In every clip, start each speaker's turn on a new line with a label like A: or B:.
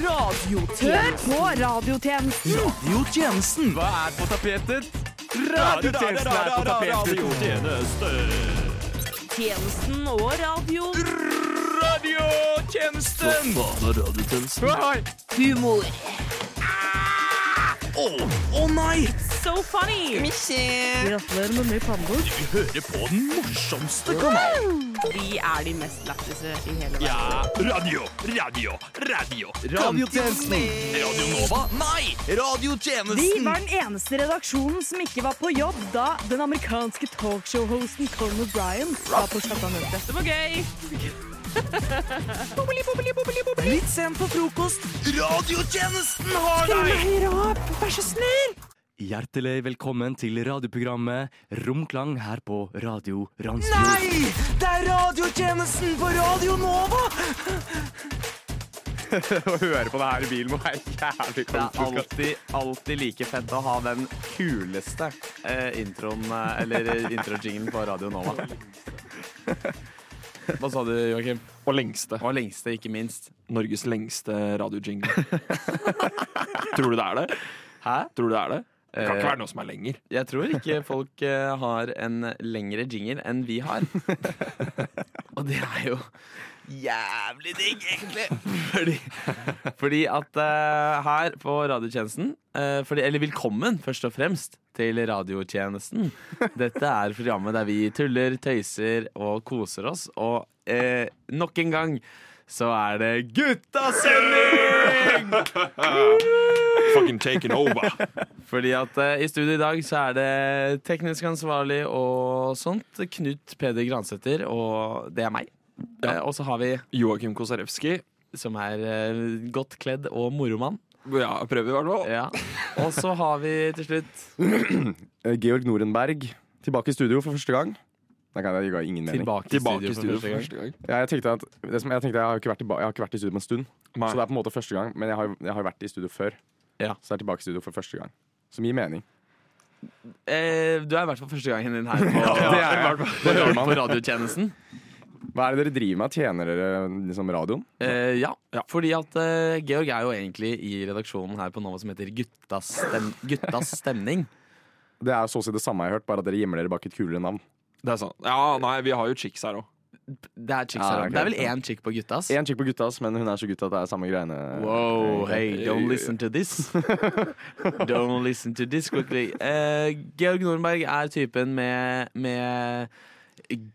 A: Hør på radiotjenesten.
B: Radiotjenesten.
C: Hva er på tapetet?
B: Radiotjenesten er på tapetet.
A: Tjenesten og radio.
C: Radiotjenesten!
B: Faen er radiotjenesten.
C: Hei!
A: Humor.
B: Å å nei!
A: So funny. Gratulerer med ny pannebok.
B: Vi hører på den morsomste kanalen.
A: Vi er de mest lættise i hele verden.
B: Ja, radio, radio, radio.
C: Radiotjenesten.
B: Radio Nova? Nei!
D: Vi
B: Radiotjenesten.
D: var den eneste redaksjonen som ikke var på jobb da den amerikanske talkshow-hosten Colin O'Brien var på skattamøte.
A: Det var gøy.
C: Litt sent på frokost.
B: Radiotjenesten har deg!
C: Hjertelig velkommen til radioprogrammet Romklang her på Radio Randsfjord.
B: Nei! Det er radiotjenesten på Radio Nova!
E: Å høre på det her i bilen må være jævlig
F: Det er
E: konstant.
F: alltid, alltid like fett å ha den kuleste eh, introen, eh, eller introjingen på Radio Nova. Hva sa du, Joakim?
E: Og lengste.
F: Og lengste, ikke minst.
E: Norges lengste radiojingle. Tror du det er det?
F: Hæ?
E: Tror du det er det? Det kan
F: Eh,
E: ikke være noe som er lenger.
F: Jeg tror ikke folk eh, har en lengre jingle enn vi har. Og det er jo jævlig digg, egentlig. Fordi, fordi at eh, her på radiotjenesten eh, fordi, Eller velkommen, først og fremst, til radiotjenesten. Dette er programmet der vi tuller, tøyser og koser oss. Og eh, nok en gang så er det guttasending!
E: Fucking taken over.
F: Fordi at eh, i studio i dag så er det teknisk ansvarlig og sånt. Knut Peder Gransæter, og det er meg. Eh, og så har vi,
E: Joakim Kosarewski.
F: som er eh, godt kledd og moromann.
E: Ja, prøver i hvert fall.
F: Ja. Og så har vi til slutt
G: Eh, Georg Norenberg tilbake i studio for første gang. Nei, nei, det ga ingen mening.
F: tilbake,
E: Tilbake
F: i studio for første gang.
E: første gang.
G: Ja, jeg tenkte at det som, jeg, tenkte jeg, har ikke vært tilba- jeg har ikke vært i studio på en stund,
E: Nei.
G: så det er på en måte første gang. Men jeg har, jeg har vært i studio før,
F: Ja.
G: så det er tilbake i studio for første gang. Som gir mening.
F: Eh, du er i hvert fall første gangen din her på,
G: Det hører
F: på
G: man.
F: radiotjenesten.
G: Hva er det dere driver med? Tjener dere liksom radioen?
F: Eh, ja. fordi at eh, Georg er jo egentlig i redaksjonen her på Nova som heter Guttas, stem Guttas stemning.
G: Det er så å si det samme jeg har hørt, bare at dere gjemmer dere bak et kulere navn.
E: Det er sant. Ja, nei, vi har jo chicks her òg.
F: Det er, chicks
G: Ja,
F: her,
G: ok.
F: det er vel én chick på Guttas?
G: Én chick på guttas, men hun er så gutta at det er samme greiene.
F: Wow,
G: egentlig.
F: hey, don't listen to this. Don't listen to this quickly. Eh, Georg Nordenberg er typen med, med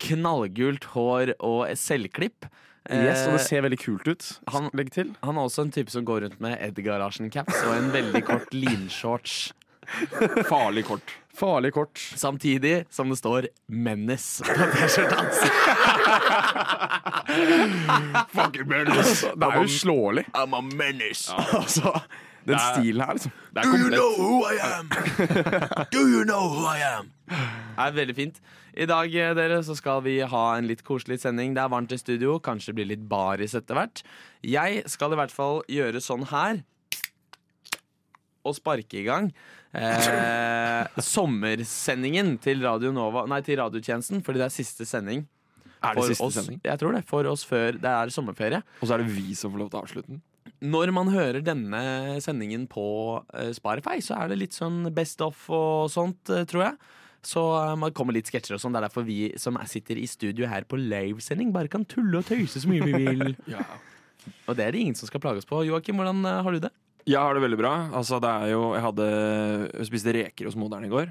F: knallgult hår og selvklipp. Eh,
G: Yes, og det ser veldig kult ut.
F: han-
G: Legg til.
F: han er også en type som går rundt med Edgarasjen-caps og en veldig kort linshorts.
E: Farlig kort.
G: Farlig kort.
F: Samtidig som det står 'Menace' på T-skjorta hans.
G: Det er jo slåelig.
E: I'm a menace. Ja.
G: Altså, den
E: Det er-
G: stilen her, liksom.
E: Det er komplett.
B: who I am? Do you know who I am?
F: er veldig fint. I dag eh, dere, så skal vi ha en litt koselig sending. Det er varmt i studio, kanskje det blir litt baris etter hvert. Jeg skal i hvert fall gjøre sånn her. Og sparke i gang eh, sommersendingen til Radio Nova Nei, til radiotjenesten, fordi det er siste sending.
E: Er det
F: for
E: siste
F: oss,
E: sending?
F: Jeg tror det. For oss før det er sommerferie.
E: Og så er det vi som får lov til å avslutte den.
F: Når man hører denne sendingen på eh, Spotify, så er det litt sånn best of og sånt, eh, tror jeg. Så eh, man kommer litt sketsjer og sånn. Det er derfor vi som er- sitter i studio her på livesending, bare kan tulle og tøyse så mye vi vil.
E: Ja.
F: Og det er det ingen som skal plage oss på. Joakim, hvordan eh, har du det?
E: Jeg har det veldig bra. Altså, det er jo, jeg hadde jeg spiste reker hos moderen i går.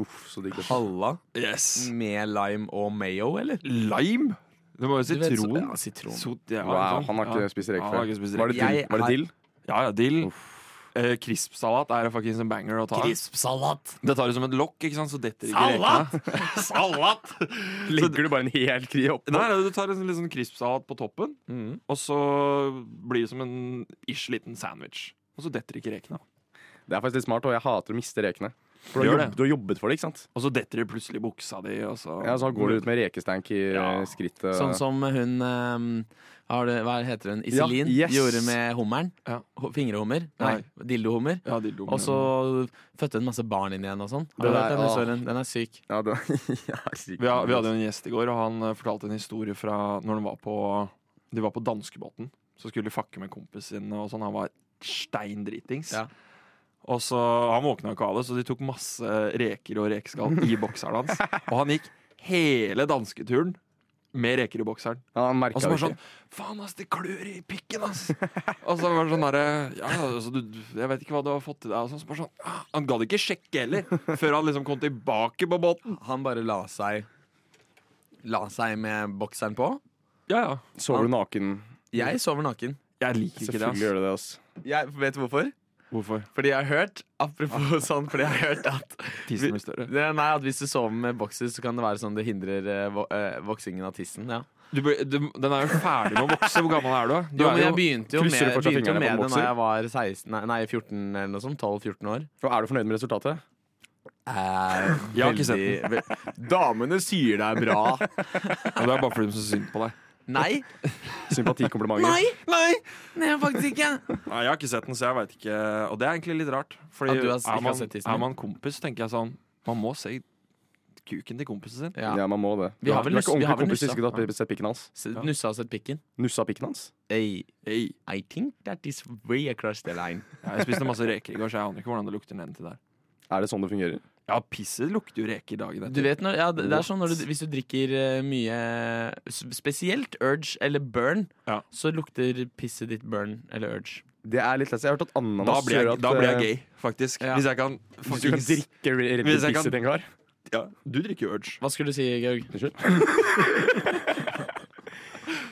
G: Uff, så digg.
F: Halla.
E: Yes.
F: Med lime og mayo, eller?
E: Lime? Det må jo
F: Du vet, så-
E: sitron.
F: Ja, sitron.
E: Sot, ja,
G: Wow,
E: ikke sant?
G: han har
E: Ja.
G: ikke spist reker
E: Han har
G: før.
E: ikke spist
G: Var det
E: reker.
G: dill?
F: Jeg
G: Var det
F: har-
G: dill?
E: Ja, ja, dill. Eh, Krispsalat er faktisk en sånn banger å ta.
F: Krispsalat.
E: Det tar du som et lokk, ikke sant? så detter ikke rekene. Salat!
G: Legger du bare en hel kri opp?
E: Nei, nei, Du tar en sånn- litt sånn krispsalat på toppen,
G: Mm.
E: og så blir det som en ish liten sandwich. Og så detter ikke rekene.
G: Det er faktisk litt smart, og jeg hater å miste rekene. For du
E: Gjør
G: har,
E: det.
G: jobb, du har jobbet for det, ikke sant?
E: Og så detter det plutselig i buksa di. Og så,
G: Ja, Så går du ut med rekestank i
E: Ja.
G: eh, skrittet.
F: Sånn som hun eh, har det, Hva heter hun?
G: Ja,
F: Iselin
G: yes.
F: gjorde med hummeren.
E: Ja.
F: Ho- Fingrehummer. Nei,
E: Nei.
F: dildohummer.
E: Ja, de dumme.
F: Og så fødte hun masse barn inn igjen og sånn. Har du
G: Det
F: hørt
G: der-
F: Den,
G: åh.
F: historien? den er syk.
G: Ja, det, ja, sykt.
E: vi, har, vi hadde jo en gjest i går, og han eh, fortalte en historie fra når de var på, de var på danskebåten. Så Så skulle de fucke med kompisen sin, og sånn. Han var steindritings.
F: Ja.
E: Og så, Han våkna ikke av det, så de tok masse reker og rekeskall i bokseren hans. Og han gikk hele dansketuren med reker i bokseren.
G: Ja, han
E: Og
G: merket
E: så
G: det
E: bare
G: ikke.
E: sånn Faen, ass, det klør i pikken, ass! Og så var det sånn derre Ja, altså, du, jeg vet ikke hva du har fått til deg, og sånn. Så bare sånn ah, Han gadd ikke sjekke heller, før han liksom kom tilbake på båten.
F: Han bare la seg La seg med bokseren på.
E: Ja, ja.
G: Sover du naken?
F: Jeg sover naken.
E: Jeg liker ikke det,
G: Selvfølgelig
E: ass.
G: gjør du det. ass
F: Jeg vet du hvorfor?
E: Hvorfor?
F: Fordi jeg har hørt Apropos sånn, fordi jeg har hørt at
E: Tissen blir større.
F: Nei, at hvis du sover med bokser, så kan det være sånn det hindrer eh, vo eh, voksingen av tissen. Ja.
E: Du, blir- du, den er jo ferdig med å vokse. Hvor gammel er du? da? du
F: Jo,
E: er
F: men jeg begynte jo med,
G: krysser du fortsatt
F: begynte jo med
G: fingrene på
F: det
G: en bokser?
F: da jeg var 16, nei, nei 14 eller noe sånt. 12-14 år.
G: Og Er du fornøyd med resultatet?
E: Jeg har ikke sett den.
F: den. Damene sier det er bra.
E: Ja, det er bare fordi de syns synd på deg.
F: Nei.
G: Sympatikomplimentet.
F: Nei, det er faktisk ikke.
E: Nei, Jeg har ikke sett den, så jeg veit ikke. Og det er egentlig litt rart. Fordi
F: At du har- ikke har
E: er, man,
F: sett tissen din?
E: er man kompis, tenker jeg sånn Man må se kuken til kompisen sin.
F: Ja.
G: Ja, man må det.
F: Vi har vel
G: du er
F: nuss-
G: ikke
F: vi har vel
G: ordentlig kompis hvis
F: nussa.
G: ikke du har sett pikken hans.
F: S- Nussa og sett pikken.
G: Nussa pikken hans?
F: Hey,
E: Hey.
F: I think that is way across the line.
E: Jeg spiste masse reker i går, så jeg aner ikke hvordan det lukter nedentil der.
G: Er det sånn det fungerer?
E: Ja, pisset lukter jo reker dagen
F: Du
E: etter.
F: vet når, ja, det det er sånn når du, Hvis du drikker eh, mye s- Spesielt Urge eller Burn,
E: Ja.
F: så lukter pisset ditt Burn eller Urge.
G: Det er litt lett. Jeg har hørt at ananas
E: Da blir, jeg,
G: gjør at
E: da blir jeg
G: eh,
E: gay, faktisk.
F: Ja.
E: Hvis jeg kan
G: Hvis du kan
E: fuckings-
G: drikke Red Bull
E: Hvis jeg kan-
G: Pisse til en kar.
E: ja, Du drikker jo Urge.
F: Hva skulle du si, Georg?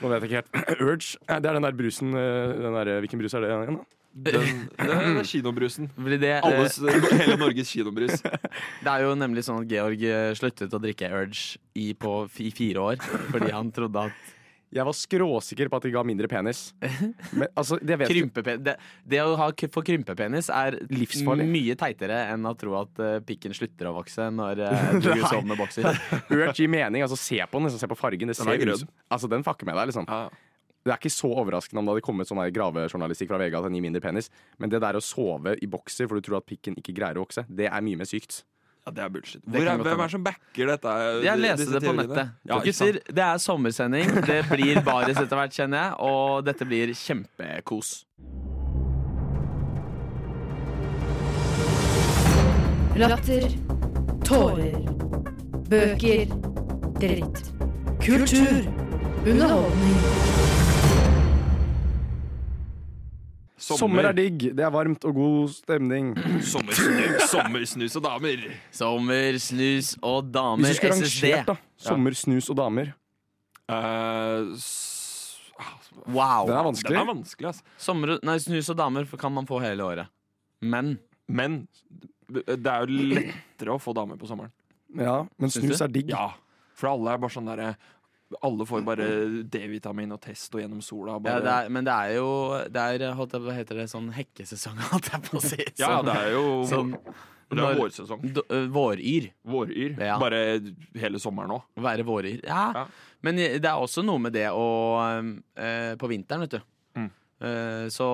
G: Nå vet jeg ikke helt. Urge. eh, Det er den der brusen eh, den der, Hvilken brus er det igjen, da?
E: Den, det er kinobrusen.
F: Fordi det, eh,
E: Alles, hele Norges kinobrus.
F: det er jo nemlig sånn at Georg eh, sluttet å drikke Urge i, på, i fire år fordi han trodde at
G: Jeg var skråsikker på at de ga mindre penis. Men altså, det vet jeg ikke.
F: krympepen, det, det å ha, k- få krympepenis er
G: Livsfarlig.
F: mye teitere enn å tro at eh, pikken slutter å vokse når eh, du
G: Nei.
F: sover med bokser.
G: Urge gir mening. Altså, se på den. Liksom, se på fargen. Det
E: Den
G: ser
E: er
G: ut
E: grønn.
G: som- Altså, den fucker med deg, liksom.
E: Ja.
G: Det er ikke så overraskende om det hadde kommet sånn her gravejournalistikk fra VG at den gir mindre penis, men det der å sove i bokser for du tror at pikken ikke greier å vokse, det er mye mer sykt.
E: Ja, det er bullshit.
F: kan
E: Hvor er,
F: godt
E: hvem
F: hende.
E: er det som backer dette? eh,
F: Jeg leste
E: disse
F: det på
E: teoriene?
F: nettet.
E: Ja, ikke sant?
F: Gutter, det er sommersending. Det blir baris etter hvert, kjenner jeg. Og dette blir kjempekos.
H: Latter. Tårer. Bøker. Dritt. Kultur. Underholdning.
G: Sommer. er digg, det er varmt og god stemning.
E: Sommersnus, sommersnus og damer.
F: Sommer, snus og damer.
G: Hvis du skulle rangert,
F: SSD.
G: da. Sommer, snus og damer.
E: Eh, s- ah,
G: Den
F: Wow.
G: er
E: Den er
G: vanskelig.
E: vanskelig, altså.
F: Sommer, nei, snus og damer kan man få hele året. Men
E: Men det er jo lettere å få damer på sommeren.
G: Ja, men
F: Syns
G: snus
F: du?
G: er digg.
E: Ja, for alle er bare sånn derre Alle får bare D-vitamin og test og gjennom sola.
F: ja,
E: Bare,
F: det er, men det er jo det er, holdt jeg på- Hva heter det? Sånn hekkesesong, holdt jeg på å si.
E: ja,
F: Sånn-
E: det er jo
F: sånn
E: Det
F: når-
E: er vårsesong.
F: d- ø, Våryr.
E: Våryr.
F: Ja.
E: Bare hele sommeren òg.
F: Å Være våryr. Ja.
E: Ja.
F: Men det er også noe med det å um, eh, På vinteren, vet du.
E: Mm.
F: Eh, så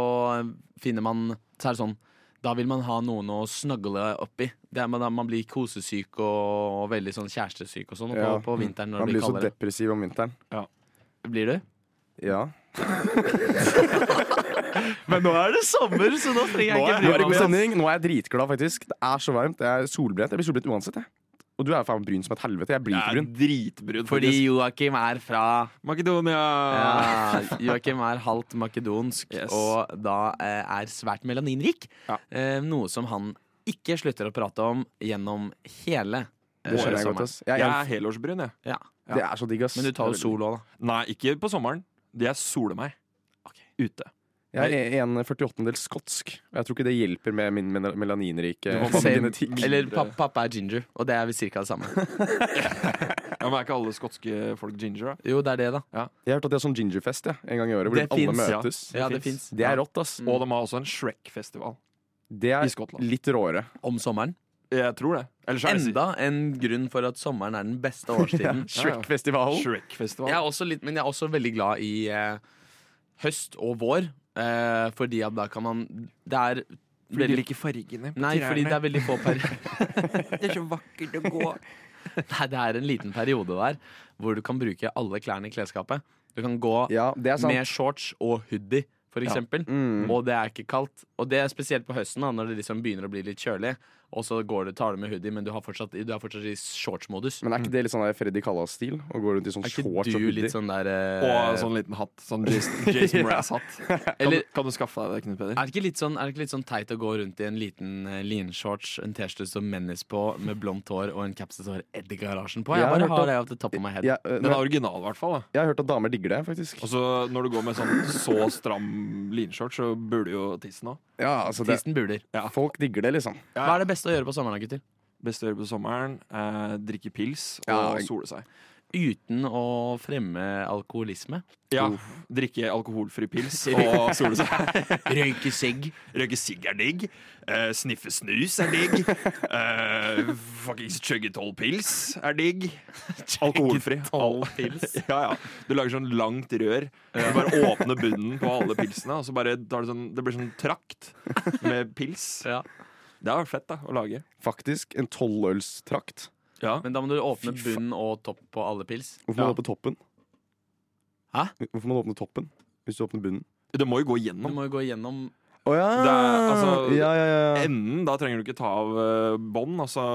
F: finner man Så er det sånn Da vil man ha noen å snagle oppi. Det er man, man blir kosesyk og, og veldig sånn kjærestesyk og sånn på,
G: Ja.
F: på vinteren når
G: Man
F: det
G: blir
F: blir
G: så
F: kaldere.
G: depressiv om vinteren.
F: Blir du?
G: Ja.
F: Men nå er det sommer, så nå trenger
G: Nå er, nå er det
E: sånn
G: god stemning. Nå er jeg dritglad, faktisk. Det er så varmt. Jeg er solbrent. Jeg blir solbrent uansett, jeg. Og du er faen brun som et helvete. Jeg blir ikke brun.
E: dritbrun.
F: Fordi Joakim er fra
E: Makedonia!
F: ja, Joakim er halvt makedonsk
E: Yes.
F: og da eh, er svært melaninrik.
E: Ja.
F: Eh, noe som han ikke slutter å prate om gjennom hele eh,
G: Det skjønner jeg
F: sommeren.
G: godt, ass. Jeg
E: Jeg
G: er,
E: er helårsbrun, jeg.
F: Ja.
G: det er så digg, ass.
F: Men du tar jo sol òg, da.
E: Nei, ikke på sommeren. Jeg soler meg ute.
G: Jeg er en 48-del skotsk, og jeg tror ikke det hjelper med min mel- melaninrike
E: Du må bare-
F: Same.
G: genetikk.
F: Eller pappa, pappa er ginger, og det er vel cirka det samme.
E: Ja, men Er ikke alle skotske folk ginger? da?
F: Jo, det er det, da.
G: Jeg har hørt at det er sånn gingerfest ja, en gang i året, hvor
F: Det
G: alle
F: finnes, ja.
G: møtes.
F: Ja, det
E: finnes.
F: fins.
G: Det er rått, ass.
F: Mm.
E: Og de har også en Shrek-festival
G: Det
E: i
G: er
E: Skottland.
G: litt råere.
F: Om sommeren.
E: Jeg tror det. Ellers er det si-
F: Enda en grunn for at sommeren er den beste årstiden.
G: Shrek-festivalen.
E: Shrek-festival.
F: Jeg er også litt, men jeg er også veldig glad i eh, høst og vår, eh, fordi at da kan man Det er
E: Fordi de
F: veldig
E: liker fargene på
F: Nei, fordi det
E: trærne.
F: er veldig få per...
E: Det er så vakkert å gå.
F: Nei, det er en liten periode der hvor du kan bruke alle klærne i klesskapet. Du Du kan gå
G: Ja, det er sant.
F: med shorts og hoodie, for eksempel.
G: Mm.
F: Og det er ikke kaldt. Og det er spesielt på høsten, da, når det liksom begynner å bli litt kjølig. Og så går det, tar du med hoodie, men du, har fortsatt, du er fortsatt i shortsmodus.
G: Men er ikke det litt sånn der Freddy Kallas-stil? Å gå rundt i sånn
F: Er ikke
G: shorts og
F: du
G: hoodie?
F: litt sånn der eh,
E: Og sånn liten hatt. Sånn Jason, Jason Mraz-hatt. Kan,
F: Eller-
E: du- kan du skaffe deg det, Knut Peder?
F: Er det, ikke litt sånn, er det ikke litt sånn teit å gå rundt i en liten eh, linshorts, en T-skjorte som Menace på, med blondt hår og en caps det står Eddie Garasjen på? Jeg
G: Jeg har
F: bare har
G: hørt at-
F: det off the top of my head.
G: Ja, øh,
E: Den
G: men
E: er original, i hvert fall. da.
G: jeg har hørt at damer digger det, faktisk.
E: Og så når du går med sånn så stram linskjørt, så burde jo tissen òg.
G: Ja, altså det,
F: Tissen buler.
G: Folk digger det, liksom.
F: Hva er det beste å gjøre på sommeren, da, gutter?
E: Best å gjøre på sommeren. Eh, drikke pils og
G: Ja.
E: sole seg.
F: Uten å fremme alkoholisme.
E: Ja, Drikke alkoholfri pils og sole seg.
F: Røyke sigg.
E: Røyke sigg er digg. Eh, sniffe snus er digg. Eh, Fuckings chugge tolv pils er digg. Alkoholfri. All pils. Ja, ja. Du lager sånn langt rør. Du bare åpner bunnen på alle pilsene, og så bare tar du sånn Det blir sånn trakt med pils.
F: Ja.
E: Det har vært fett da, å lage.
G: Faktisk en tolvølstrakt.
E: Ja.
F: Men da må du åpne
G: Fy faen.
F: bunn og topp på alle pils.
G: Hvorfor må
E: Ja.
G: du åpne toppen?
F: Hæ?
G: Hvorfor må du åpne toppen hvis du åpner bunnen?
E: Det må jo gå
F: Du
E: gjennom.
F: må jo gå gjennom
G: Å ja.
E: Det er, altså,
G: ja, ja, ja.
E: Enden, da trenger du ikke ta av eh, bånd, og så,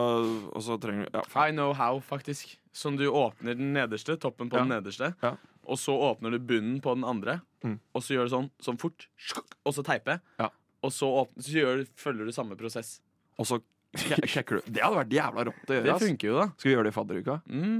E: og så trenger du ja.
F: I know how, faktisk. Som du åpner den nederste, toppen på
E: Ja.
F: den nederste.
E: Ja.
F: Og så åpner du bunnen på den andre,
E: Mm.
F: og så gjør du sånn, sånn fort, skjukk, og så teipe.
E: Ja.
F: Og så, åpner, så gjør, du- følger du samme prosess.
E: Og så kje- sjekker du. Det hadde vært jævla rått å gjøre. ass.
F: funker jo, da.
E: Skal vi gjøre det i fadderuka?
F: Mm.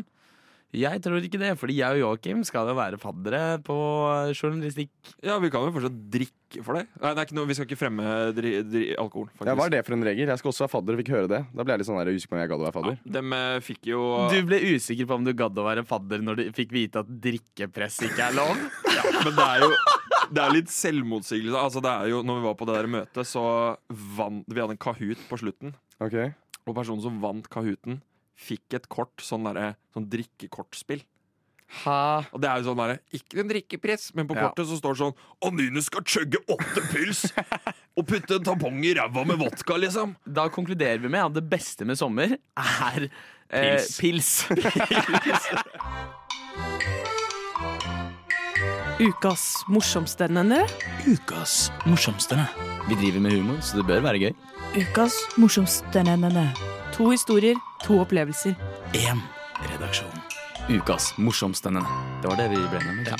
F: Jeg tror ikke det, fordi jeg og Joakim skal jo være faddere på eh, journalistikk.
E: Ja, vi kan jo fortsatt drikke for det. Nei, det er ikke noe, vi skal ikke fremme dri, dri, alkohol, faktisk.
G: Ja, Hva er det for en regel? Jeg skal også være fadder og fikk høre det. Da ble jeg litt sånn der usikker på om jeg gadd å være fadder.
E: De eh, fikk jo
F: Du ble usikker på om du gadd å være fadder når du fikk vite at drikkepress ikke er lov.
E: Men det er jo det er litt selvmotsigelse. Altså, det er jo, når vi var på det der møtet, så vant Vi hadde en Kahoot på slutten,
G: Ok,
E: og personen som vant Kahooten, fikk et kort, sånn, derre- sånn drikkekortspill. Og det er jo sånn der, Ikke en drikkepress, men på
G: Ja.
E: kortet så står det sånn Anine skal chugge åtte pils og putte en tampong i ræva med vodka, liksom.
F: Da konkluderer vi med at det beste med sommer er eh, pils.
D: Ukas morsomste, nenne.
C: Ukas morsomste.
F: Vi driver med humor, så det bør være gøy.
A: Ukas morsomste nenne.
D: To historier, to opplevelser.
C: Én redaksjon. Ukas morsomste. Det var det vi ble med. Ja.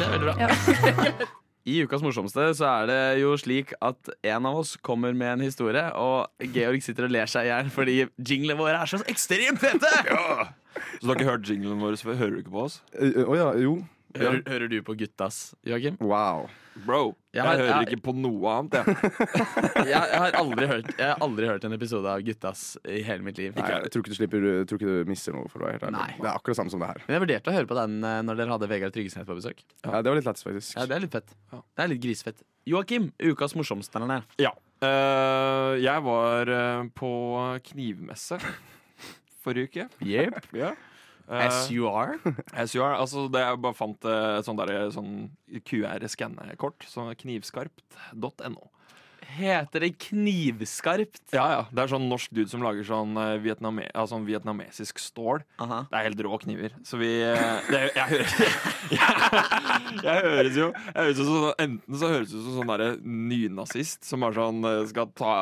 F: Det er veldig bra. I ukas morsomste så er det jo slik at en av oss kommer med en historie, og Georg sitter og ler seg i hjel fordi jinglene våre er så ekstremt fete!
E: Så du har ikke hørt jinglen vår? så Hører du ikke på oss?
G: Ø, ø, Eh, Å ja, jo.
F: Hører, hører du på guttas, Joakim?
G: Wow.
E: Bro, jeg,
F: Jeg har-
E: hører
F: jeg-
E: ikke på noe annet. Jeg.
F: Jeg, jeg, har aldri hørt, jeg har aldri hørt en episode av Guttas i hele mitt liv.
G: Nei, jeg tror ikke du slipper Jeg tror ikke du mister noe, for å være helt ærlig.
F: Nei.
G: Det er akkurat samme som det her.
F: Men jeg vurderte å høre på den eh, når dere hadde Vegard Tryggesnes på besøk.
G: Ja, Det var litt lættis, faktisk.
F: Ja, Det er litt fett.
E: Ja.
F: Det er litt grisfett. Joakim, ukas morsomste. eller nei?
E: Ja. Eh, jeg var eh, på knivmesse forrige uke. Ja. Eh,
F: As you are.
E: as you are. Altså, det jeg bare fant eh, et sånt der, sånn QR-skannekort. Sånn knivskarpt.no.
F: Heter det knivskarpt?
E: Ja, ja. Det er sånn norsk dude som lager sånn, eh, vietname, ja, sånn vietnamesisk stål.
F: Aha.
E: Det er helt rå kniver. Så vi eh, det, jeg, hører, jeg, høres jo jeg høres jo sånn, Enten så høres du ut som sånn derre nynazist som bare sånn eh, skal ta,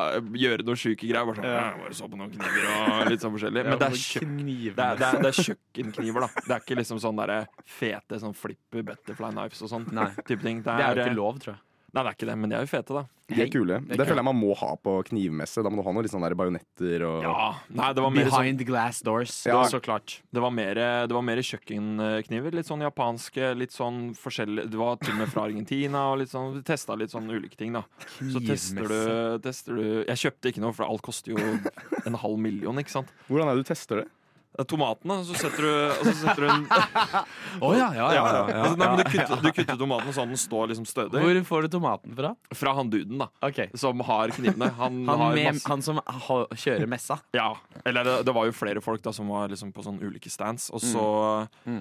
E: gjøre noe sjuke greier. Bare sånn «Jeg Bare så på noen kniver og litt sånn forskjellig. Men det er, kjø, det, er, det, er, det er kjøkkenkniver, da. Det er ikke liksom sånn derre fete sånn flipper butterfly knives og sånn.
F: Nei.
E: Type ting.
F: Det er jo
E: eh,
F: ikke lov, tror jeg.
E: Nei, det er ikke det, men de er jo fete, da.
G: De er kule. Det
F: kult.
G: føler jeg man må ha på knivmesse. Da må du ha noe litt sånn der bajonetter og
E: Ja, nei, det var mer sånn
F: Behind glass doors.
G: Ja.
F: Så klart.
E: Det var mer, det var mer kjøkkenkniver. Litt sånn japanske, litt sånn forskjellig Det var til og med fra Argentina. Og litt sånn, vi testa litt sånn ulike ting, da. Så tester du, tester du Jeg kjøpte ikke noe, for alt koster jo en halv million, ikke sant.
G: Hvordan er det du tester det?
E: Det er Tomatene, så setter du, og så setter du en
F: Å ja, ja, ja, ja, ja.
E: Altså, nei, men du, kutter, du kutter tomaten sånn den står liksom stødig.
F: Hvor får du tomaten fra?
E: Fra han duden, da.
F: Ok
E: Som har knivene. Han,
F: Han,
E: har
F: med,
E: masse
F: han som ha- kjører messa.
E: Ja, eller det, det var jo flere folk da som var liksom på sånn ulike stands, og så,
F: Mm.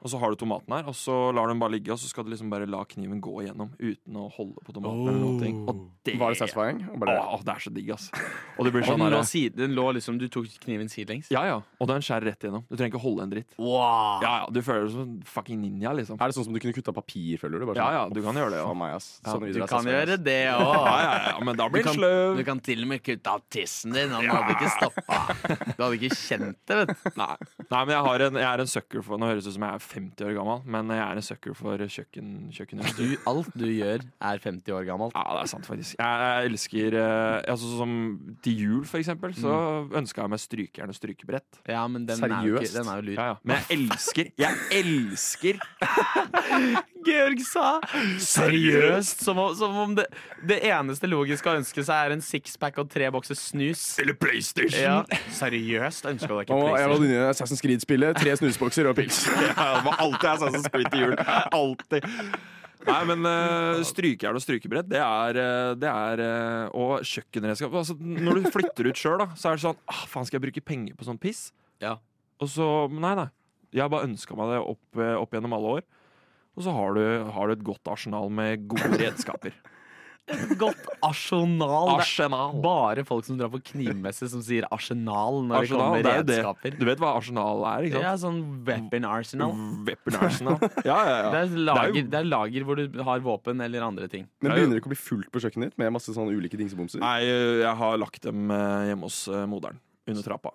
E: Og så har du tomaten
F: Oh.
E: her, og så lar du den bare ligge, og så skal du liksom bare la kniven gå igjennom uten å holde på tomaten. eller noen ting. Og Det,
G: Var det satisfying? Og bare-
E: Åh, det er så digg, ass. Og det blir
F: Og
E: sånn
F: den lå,
E: der,
F: side, den lå liksom, du tok kniven sidelengs?
E: ja, ja. Og den skjærer rett igjennom. Du trenger ikke holde en dritt. Ja, ja, Du føler deg som en fucking ninja, liksom.
G: Er det sånn som du kunne kutta papir, føler du? Bare
E: Ja,
G: sånn,
E: ja, du kan gjøre det
G: Faen
E: òg.
G: meg, ass.
E: Ja,
G: Sånn
F: Du
G: videre,
F: kan
G: ass.
F: gjøre det
E: Ja,
F: òg.
E: ja, ja, men da
F: Du
E: blir den
F: kan,
E: sløv.
F: du kan til og med kutte av tissen din. Han hadde ikke stoppa. Du hadde ikke kjent det, vet du.
E: Nei. Nei, men jeg, har en, jeg er en sucker for Nå høres det ut som jeg er 50 år gammel, men jeg er en sucker for kjøkken, kjøkkenutstyr.
F: du. Alt du gjør, er 50 år gammelt.
E: Ja, det er sant, faktisk. Jeg, jeg elsker eh, altså, Som til jul, for eksempel, så ønska jeg meg strykejern og strykebrett.
F: Ja, men den er jo, ikke,
G: Seriøst?
F: den er jo lur.
E: Ja, ja. Men jeg elsker Jeg elsker
F: Georg sa seriøst som om, som om det, det eneste logiske å ønske seg er en sixpack og tre bokser snus.
E: Eller PlayStation!
F: Ja. Seriøst ønska du deg ikke
G: Og jeg var
F: PlayStation?
G: inne i Assassin's Creed-spillet. Tre snusbokser og pils.
E: det var alltid Assassin's Creed til jul. Alltid. Nei, men uh, strykejern og strykebrett, det er, eh, det er eh, Og kjøkkenredskap. Altså, når du flytter ut sjøl, så er det sånn ah, Faen, skal jeg bruke penger på sånn piss?
F: Ja.
E: Og så Nei, nei. Jeg har bare ønska meg det opp, eh, opp gjennom alle år. Og så har du, har du et godt arsenal med gode redskaper.
F: Godt arsenal. Det er
E: Arsenal.
F: bare folk som drar på knivmesse, som sier arsenal når
E: Arsenal,
F: det
E: det er jo
F: kommer
E: det.
F: redskaper.
E: Du vet hva arsenal er, ikke
F: Det
E: sant?
F: er sånn weapon arsenal.
E: Weapon arsenal. Ja, ja, ja.
F: Det er,
E: Det er
F: lager,
E: jo-
F: det er lager hvor du har våpen eller andre ting.
G: Men begynner det ikke å bli fullt på kjøkkenet ditt med masse sånne ulike dingsebomser?
E: Nei, jeg har lagt dem eh, hjemme hos eh, moderen. Under trappa.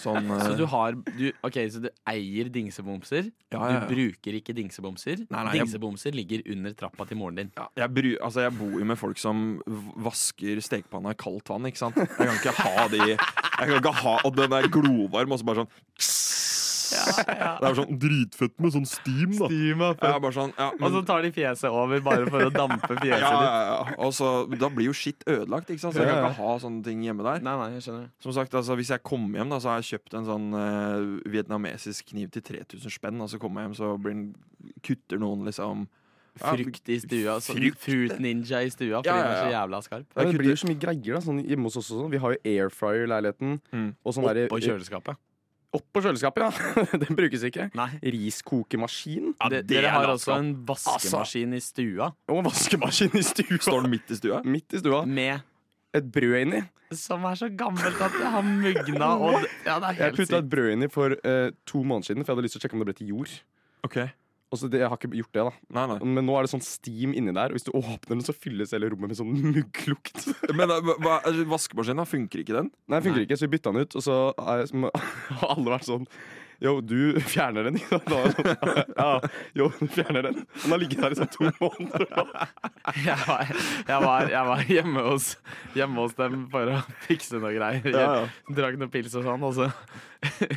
E: Sånn eh,
F: Så du har du, Ok, så du eier dingsebomser.
E: Ja, ja, ja.
F: Du bruker ikke dingsebomser.
E: Nei, nei, jeg-
F: dingsebomser ligger under trappa til moren din.
E: ja, jeg, bry, altså jeg bor jo med folk som v- vasker stekepanna i kaldt vann, ikke sant? Jeg kan ikke ha de Jeg kan ikke ha Og den er glovarm, og så bare sånn Det er sånn dritfett med sånn steam, da. Jeg er bare sånn, ja, men,
F: Og så tar de fjeset over bare for å dampe fjeset
E: ja,
F: ditt.
E: ja, ja. Og så, da blir jo skitt ødelagt, ikke sant? så jeg kan ikke ha sånne ting hjemme der.
F: Nei, nei, jeg skjønner.
E: Som sagt, altså, Hvis jeg kommer hjem, da, så har jeg kjøpt en sånn eh, vietnamesisk kniv til 3000 spenn. Og så kommer jeg hjem, så blir den, kutter noen liksom Ja,
F: Frukt i stua. Så,
E: frukt.
F: fruit ninja i stua, fordi
E: Ja, ja,
F: den er så
E: ja.
F: jævla skarp.
G: Ja,
E: Jeg
G: det
E: kutter-
G: blir jo så mye greier da, sånn hjemme hos oss og sånn. Vi har jo air fryer i leiligheten.
E: Mm.
G: Og sånn der,
F: Oppå kjøleskapet.
G: Opp på kjøleskapet, ja. Den brukes ikke.
F: Nei.
G: Riskokemaskin.
E: Ja,
F: De-
E: det altså. er
F: Dere har altså
E: latskap.
F: også en vaskemaskin i stua
G: Og vaskemaskin i stua.
E: Står den midt i stua?
G: Midt i
E: Altså.
G: stua.
F: med
G: Et brød inni.
F: Som er så gammelt at jeg har mugna og Ja, det er
G: Jeg
F: helt
G: putta et
F: sykt.
G: brød inni for eh, to måneder siden, for jeg hadde lyst til å sjekke om det ble til jord.
E: Ok,
G: Og så det, jeg har ikke gjort det da
E: nei, nei
G: Men nå er det sånn steam inni der, og hvis du åpner den, så fylles hele rommet med sånn mugglukt.
E: Men eh, hva, altså, vaskemaskinen, da, funker ikke den?
G: Nei, det funker ikke, så vi bytta den ut, og så er, som, har alle vært sånn Yo, du fjerner den. Da er det sånn, ja, jo, du fjerner den. Den har ligget der i sånn to måneder.
F: Jeg var, jeg var, jeg var hjemme, hos, hjemme hos dem for å fikse noe greier. Jeg
G: Ja, ja.
F: Drakk noe pils og sånn, og så,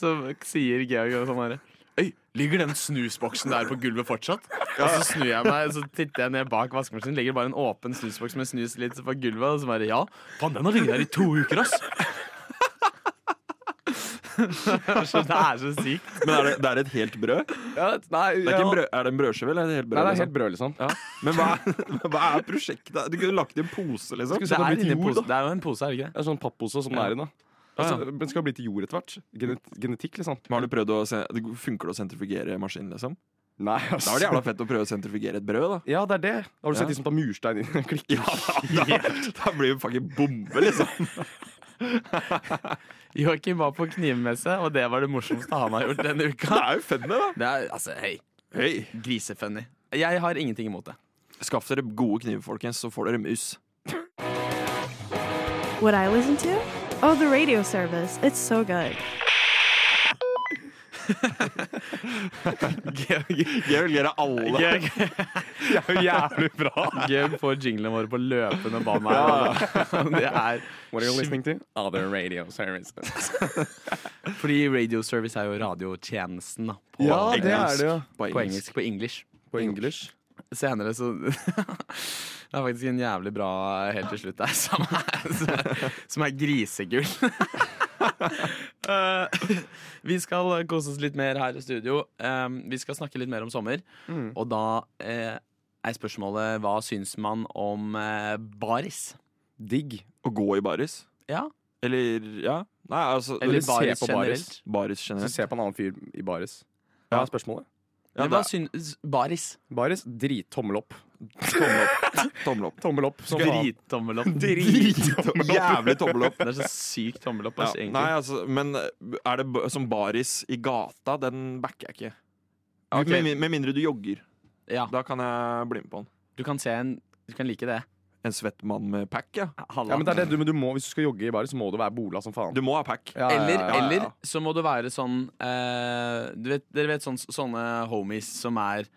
F: så sier Georg og sånn herre Øy, ligger den snusboksen der på gulvet fortsatt? Og så snur jeg meg, så titter jeg ned bak vaskemaskinen. Ligger det bare en åpen snusboks med snus litt på gulvet? Og så bare ja. Faen, den har ligget der i to uker, ass! Så det er så sykt.
E: Men er det, det er et helt brød? Det
G: nei,
E: er, ikke en brød, er det en brødskive eller er det helt brød?
G: Nei, det er
E: liksom?
G: helt brød, liksom.
E: ja. Men hva er, hva er prosjektet? Du kunne lagt i en pose, liksom.
G: Skulle
F: Det
G: se om
F: er,
G: det blir
F: inni
G: til jord,
F: pose,
G: da.
F: det er jo en pose, er det ikke det?
G: Det er sånn pappose som det er i, da.
E: Ja,
G: Altså,
E: ja.
G: Den skal bli til jord etter hvert. Genet genetikk, liksom.
E: Men Har du prøvd å se- Funker det å sentrifugere maskinen, liksom?
G: Nei,
E: Da
G: altså.
E: er det jævla fett å prøve å sentrifugere et brød, da.
G: Ja, det er det. Har
E: Ja.
G: du sett de som tar murstein inn og klikker?
E: Da, da blir det fucking bombe, liksom.
F: Joakim var på knivmesse, og det var det morsomste han har gjort denne uka.
E: er jo funny, da.
F: Det er, altså, hei,
E: Hei.
F: grisefunny. Jeg har ingenting imot det.
E: Skaff dere gode kniver, folkens, så får dere mus.
A: What I listen to? Oh, the radio service. It's so good.
E: Georg ler av alle.
F: Georg,
G: Det er jo jævlig bra.
F: Georg får jinglene våre på løpende bånd her. Det er
G: What are you listening to? Other radio service.
F: fordi radio service er jo radiotjenesten da, på,
G: Ja, det er det, ja.
E: På
F: på engelsk. På english.
G: På engelsk.
F: Senere så Det er faktisk en jævlig bra helt til slutt der, som er, som er grisegull. Eh, vi skal kose oss litt mer her i studio. Eh, vi skal snakke litt mer om sommer.
E: Mm.
F: Og da eh, er spørsmålet hva syns man om eh, baris?
G: Digg.
E: Å gå i baris?
F: Ja,
E: Eller ja? Nei, altså
F: Eller
G: se
F: baris
G: på baris.
F: generelt?
E: Baris
G: Så
E: generelt.
G: se på en annen fyr i baris.
E: Ja.
G: Hva er spørsmålet?
E: Ja,
F: Men
E: det
F: hva syns baris?
G: Baris, drittommel opp.
E: Tommel opp. Tommel opp.
G: Tommel opp. Som faen.
F: Drittommel opp.
G: Drittommel opp.
E: Jævlig tommel opp.
F: Det er så sykt tommel opp.
E: Ja.
F: Altså,
E: Nei,
F: egentlig.
E: altså, men er det b- som baris i gata? Den backer jeg ikke.
F: Ok.
E: Med, min- med mindre du jogger.
F: Ja,
E: Da kan jeg bli med på den.
F: du kan se en Du kan like det.
E: En svett mann med pack, ja.
G: Ja, men det er det, du, men du må, Hvis du skal jogge i baris, så må du være bola som faen.
E: Du må ha pack.
G: Ja, ja, ja,
F: Eller,
G: ja, ja.
F: eller så må du være sånn eh, du vet, Dere vet sånn, sånne homies som er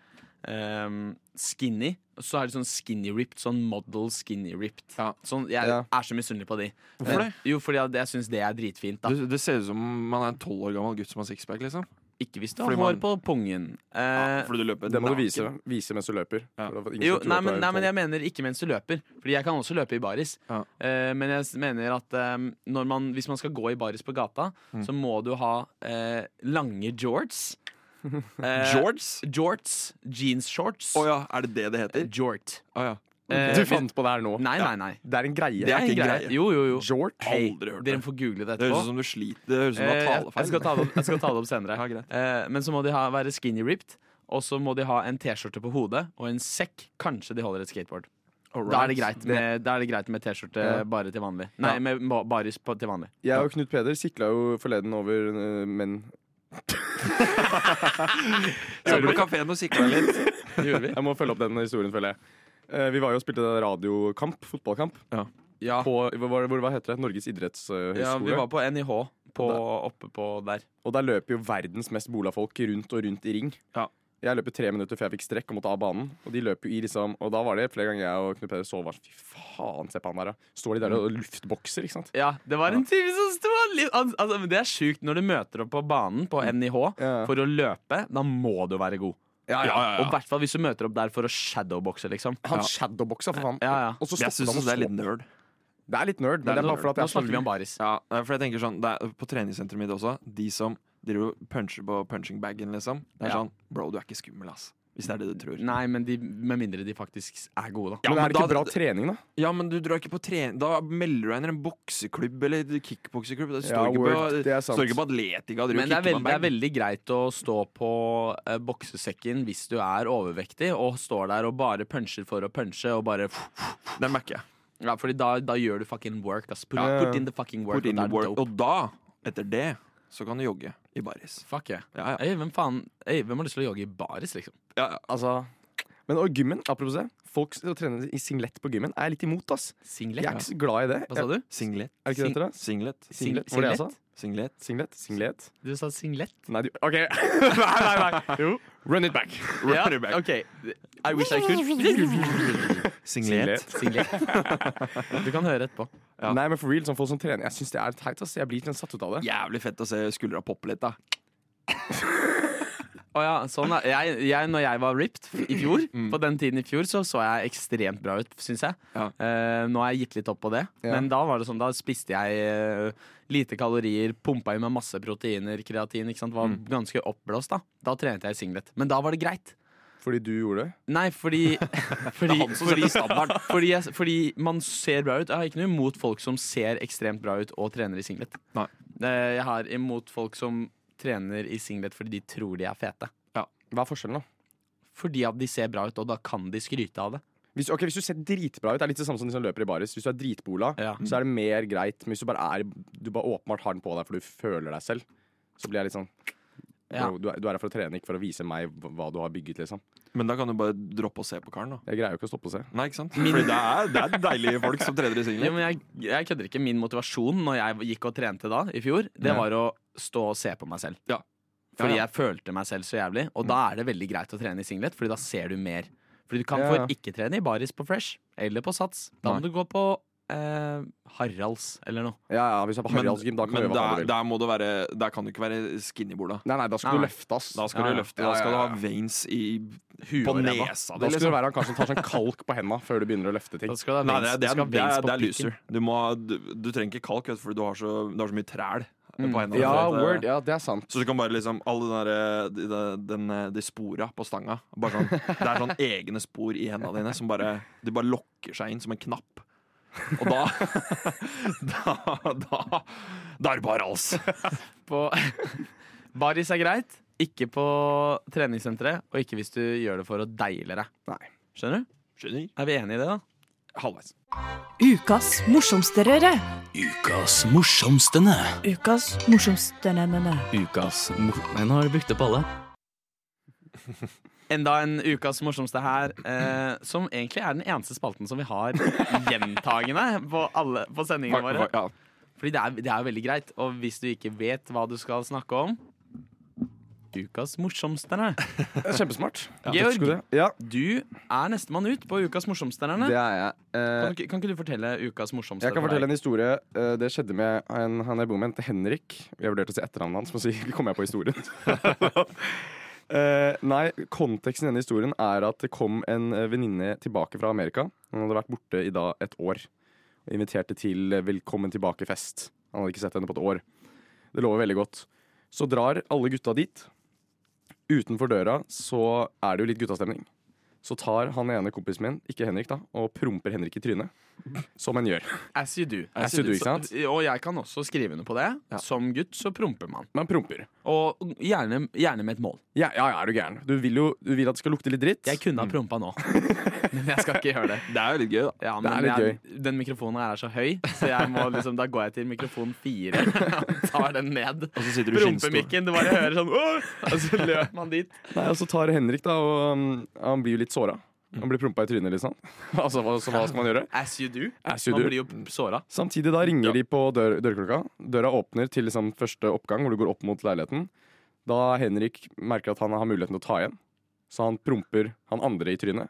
F: eh, skinny. og Så er de sånn skinny ripped. Sånn model skinny ripped.
E: Ja.
F: Sånn, jeg
G: Ja.
F: er så misunnelig på de.
E: Hvorfor
F: Men- Jo, fordi at jeg syns det er dritfint. da
E: Det, det ser ut som man er en tolv år gammel gutt som har sixpack. liksom
F: Ikke hvis du har
E: Fordi
F: hår
E: man-
F: på pungen. Eh,
E: ja, Fordi du løper
G: Det må du
E: naken.
G: vise, vise mens du løper.
E: Ja.
G: For at ingen
F: jo,
G: skal tro
F: nei
G: at du
F: men,
G: er
F: nei, men
G: tolv.
F: jeg mener ikke mens du løper. Fordi jeg kan også løpe i baris.
E: Ja.
F: Eh, men jeg s- mener at eh, når man, hvis man skal gå i baris på gata,
G: Mm.
F: så må du ha eh, lange jorts. Eh,
E: Georges?
F: Jorts, jeansshorts.
E: Å ja, er det det det heter?
F: Jort.
E: Å ja.
F: Eh,
G: Du fant på det her nå.
F: Nei, nei, nei.
G: Det er en greie.
E: Det er
F: en
E: ikke
F: greie.
E: greie.
F: Jo, jo, jo.
G: Jort.
F: Hei,
E: Aldri hørt
F: dere
E: det.
F: får google det
E: Det høres ut
F: etterpå.
E: som du sliter. Det høres ut som du
F: Eh,
E: har
F: jeg, jeg,
E: talefeil.
F: skal ta det, opp- jeg skal ta det opp senere.
E: Ja, greit.
F: Eh, men så må de ha, være skinny ripped, og så må de ha en T-skjorte på hodet og en sekk. Kanskje de holder et skateboard. Da er det greit med, da er det greit med T-skjorte
G: Ja.
F: bare til vanlig. Nei, med ba- baris på, til vanlig.
G: Jeg og Knut Peder sikla jo forleden over eh, menn.
E: Satt på kafeen og sikla litt.
F: Gjorde vi?
G: Jeg må følge opp den historien, føler jeg. Eh, Vi var jo og spilte radiokamp, fotballkamp,
F: Ja,
G: på hva, var det- hvor, hva heter det? Norges
F: ja,
G: idrettshøgskole.
F: vi var på NIH på, oppe på der.
G: Og der løper jo verdens mest bola-folk rundt og rundt i ring.
E: Ja.
G: Jeg løper tre minutter før jeg fikk strekk og måtte av banen. Og de løper jo i liksom Og da var det flere ganger jeg og Knut Peder så var sånn, Fy faen, se på han der, da. Står de der og luftbokser, ikke sant?
F: Ja, det var en type som sto han litt- han- altså, men Det er sjukt når du møter opp på banen på
E: Mm.
F: NIH
G: Ja.
F: for å løpe. Da må du være god.
E: Ja, ja, ja,
F: Og
E: ja.
F: i hvert fall hvis du møter opp der for å shadowboxe, liksom.
G: Han
E: Ja.
G: shadowboksa, for faen.
F: Ja, ja.
G: Og så
E: Jeg syns
G: stoppet han og
E: det er
G: så
E: litt nerd.
G: på- Det er litt nerd, men det
E: Det
G: er
E: er
G: bare
E: nerd.
G: fordi
F: Nå
G: at jeg er så
F: snakker vi om
G: lur.
F: baris.
E: Ja, nei, for jeg tenker sånn det er, På treningssenteret mitt også, de som driver og puncher på punching bagen, liksom. Det er
F: Ja.
E: sånn Bro, du er ikke skummel, ass. Hvis det er det du tror.
F: Nei, men de, med mindre de faktisk er gode, da.
G: Men er det ikke
E: da-
G: bra trening, da?
E: Ja, men du drar ikke på trening Da melder du deg inn i en bokseklubb eller kickbokseklubb. Det
G: Ja,
E: står, ikke,
G: word,
E: på,
G: det er sant.
E: står ikke på atletica. og driver
F: Men
E: og
F: det
E: kicker
F: er, veld, det
E: med
F: er
E: en bag.
F: veldig greit å stå på eh, boksesekken hvis du er overvektig, og står der og bare puncher for å punche, og bare
E: Den backer jeg.
F: ja, Fordi da, da gjør du fucking work, ass. Put,
G: Ja.
F: put in the fucking work.
E: Put in
F: og da er
E: the work.
F: det dope.
E: Og da, etter det, så kan du jogge i baris.
F: Fuck yeah.
E: Ja, ja.
F: Ey, hvem faen Ey, hvem har lyst til å jogge i baris, liksom?
E: ja, ja.
G: Altså men og gymmen, apropos det. Folk som trener i singlet på gymmen er jeg litt imot. ass
F: Singlet?
G: Jeg er ikke så glad i det.
F: Hva sa du?
E: Singlet.
G: Er det ikke det det heter? da?
E: Singlet.
F: Sing-
G: Singlet? Var det jeg sa?
F: singlet?
E: Singlet.
G: Singlet? Singlet?
F: Du sa singlet?
G: Nei, du OK. nei, nei, nei. Jo. Run it back.
F: Ja,
E: Run it back.
F: OK. I wish I could.
E: Singlet.
F: Singlet. Du kan høre etterpå.
E: Ja.
G: Nei, men for real, sånn folk som trener Jeg syns det er teit. ass Jeg blir litt sånn satt ut av det.
E: Jævlig fett å se skuldra poppe litt, da.
F: Å ja, sånn er jeg, jeg, Når jeg var ripped i fjor, på den tiden i fjor, så så jeg ekstremt bra ut, syns jeg.
E: Ja.
F: Eh, nå har jeg gitt litt opp på det,
G: Ja.
F: men da var det sånn, da spiste jeg eh, lite kalorier, pumpa i meg masse proteiner, kreatin, ikke sant. Var ganske oppblåst, da. Da trente jeg i singlet. Men da var det greit.
G: Fordi du gjorde det.
F: Nei, fordi Fordi,
E: han som
F: fordi,
E: setter standarden.
F: fordi, jeg, fordi man ser bra ut. Jeg har ikke noe imot folk som ser ekstremt bra ut og trener i singlet.
E: Nei.
F: Eh, Jeg har imot folk som trener i singlet fordi de tror de er fete.
G: Hva er forskjellen, da?
F: Fordi at de ser bra ut, og da kan de skryte av det.
G: Hvis, ok, hvis du ser dritbra ut, det er litt det samme som de som løper i baris. Hvis du er dritbola,
F: Ja.
G: så er det mer greit. Men hvis du bare er Du bare åpenbart har den på deg for du føler deg selv, så blir jeg litt sånn
F: Ja.
G: bro, du, er, du er her for å trene, ikke for å vise meg hva- hva du har bygget, liksom.
E: Men da kan du bare droppe å se på karen, da.
G: Jeg greier jo ikke å stoppe å se.
E: Nei, ikke sant? Fordi det er, det er deilige folk som trener i
F: Ja,
E: singlet.
F: men jeg, jeg kødder ikke. Min motivasjon når jeg gikk og trente da, i fjor, det var å stå og se på meg selv.
E: Ja.
F: Fordi
E: Ja, Mm. ja.
F: jeg følte meg selv så jævlig. Og da er det veldig greit å trene i singlet, Fordi da ser du mer. Fordi du kan
G: Ja, ja.
F: for ikke trene i baris på Fresh eller på Sats. Da må
E: Nei.
F: du gå på eh, Haralds eller noe.
G: Ja, ja, hvis jeg er på Haraldsgym, da kan du
E: men
G: gjøre hva faen
E: der,
G: du vil.
E: der, må du være, der kan du ikke være skinnybola.
G: Nei, nei, da
F: Nei.
G: skal du løfte, ass.
E: Da skal
F: Ja,
E: du
F: ja.
E: løfte, da skal du
G: Ja, ja,
E: ha veins i
F: Huet
E: på
F: og ræva.
E: nesa di,
G: Da skal
E: liksom.
G: du være han kanskje som tar sånn kalk på henda før du begynner å løfte ting.
F: Da skal du ha
E: Nei, det
F: veins-
E: er, det
F: du
E: er,
F: skal ha
E: det
F: veins
E: er,
F: på
E: det er
F: pikken.
E: loser. Du, må, ha- du, du trenger ikke kalk, vet, du, for du har så, du har så mye træl på hendene.
G: Ja,
E: Så det-
G: word, ja, det er sant.
E: Så du kan bare liksom Alle den der, de, de, den, de spora på stanga bare sånn, Det er sånn egne spor i hendene dine som bare De bare lokker seg inn som en knapp. Og da Da, da, da er det bare oss.
F: På baris er greit. Ikke på treningssenteret, og ikke hvis du gjør det for å deile deg.
G: Nei.
F: Skjønner du?
E: Skjønner?
F: Er vi enige i det, da?
E: Halvveis.
A: Ukas morsomste røre.
C: Ukas morsomstene.
A: Ukas morsomste nennene.
C: Ukas mor... Nei, nå har du brukt opp alle.
F: Enda en ukas morsomste her, eh, som egentlig er den eneste spalten som vi har gjentagende på, alle, på sendingene
E: Fuck,
F: våre.
E: fuck, ja.
F: Fordi det er, det er veldig greit. Og hvis du ikke vet hva du skal snakke om Ukas morsomsterne.
G: Det er Kjempesmart.
F: Georg,
G: Ja,
F: du er nestemann ut på Ukas morsomsterne.
G: det er jeg. Eh,
F: Kan, du ikke- kan ikke du fortelle Ukas morsomsterne?
G: jeg kan fortelle en historie. Eh, Det skjedde med en, han jeg bor med, han heter Henrik. Jeg vurderte å si etternavnet hans, men så kom jeg på historien. Eh, nei, konteksten i denne historien er at det kom en eh, venninne tilbake fra Amerika. Hun hadde vært borte i da et år. Og inviterte til eh, velkommen tilbake-fest. Han hadde ikke sett henne på et år. Det lover veldig godt. Så drar alle gutta dit. Utenfor døra så er det jo litt guttastemning. Så tar han ene kompisen min, ikke Henrik, da, og promper Henrik i trynet. Som en gjør.
F: As you do.
G: As you do, ikke sant?
F: Og jeg kan også skrive under på det. Som gutt så promper man.
G: Man promper.
F: Og gjerne, gjerne med et mål.
G: Ja, ja, ja, er du gæren. Du vil jo du vil at det skal lukte litt dritt.
F: Jeg kunne ha prompa nå, men jeg skal ikke gjøre det.
E: Det er jo litt gøy, da.
F: Ja,
G: Det
F: men
G: er litt
F: jeg, Den mikrofonen her er så høy, så jeg må liksom, da går jeg til mikrofon fire. Tar den ned.
E: Og så sitter du i skinnstol.
F: Prompemikken. Du bare hører sånn Åh! Og så løp man dit.
G: Nei, og så tar Henrik, da, og um, han blir jo litt såra. Han blir prompa i trynet, liksom. altså, hva, så hva skal man gjøre?
F: As you do.
G: As you
F: man
G: do.
F: blir jo såra.
G: Samtidig da ringer de på dør, dørklokka. Døra åpner til liksom første oppgang, hvor du går opp mot leiligheten. Da Henrik merker at han har muligheten til å ta igjen, så han promper han andre i trynet.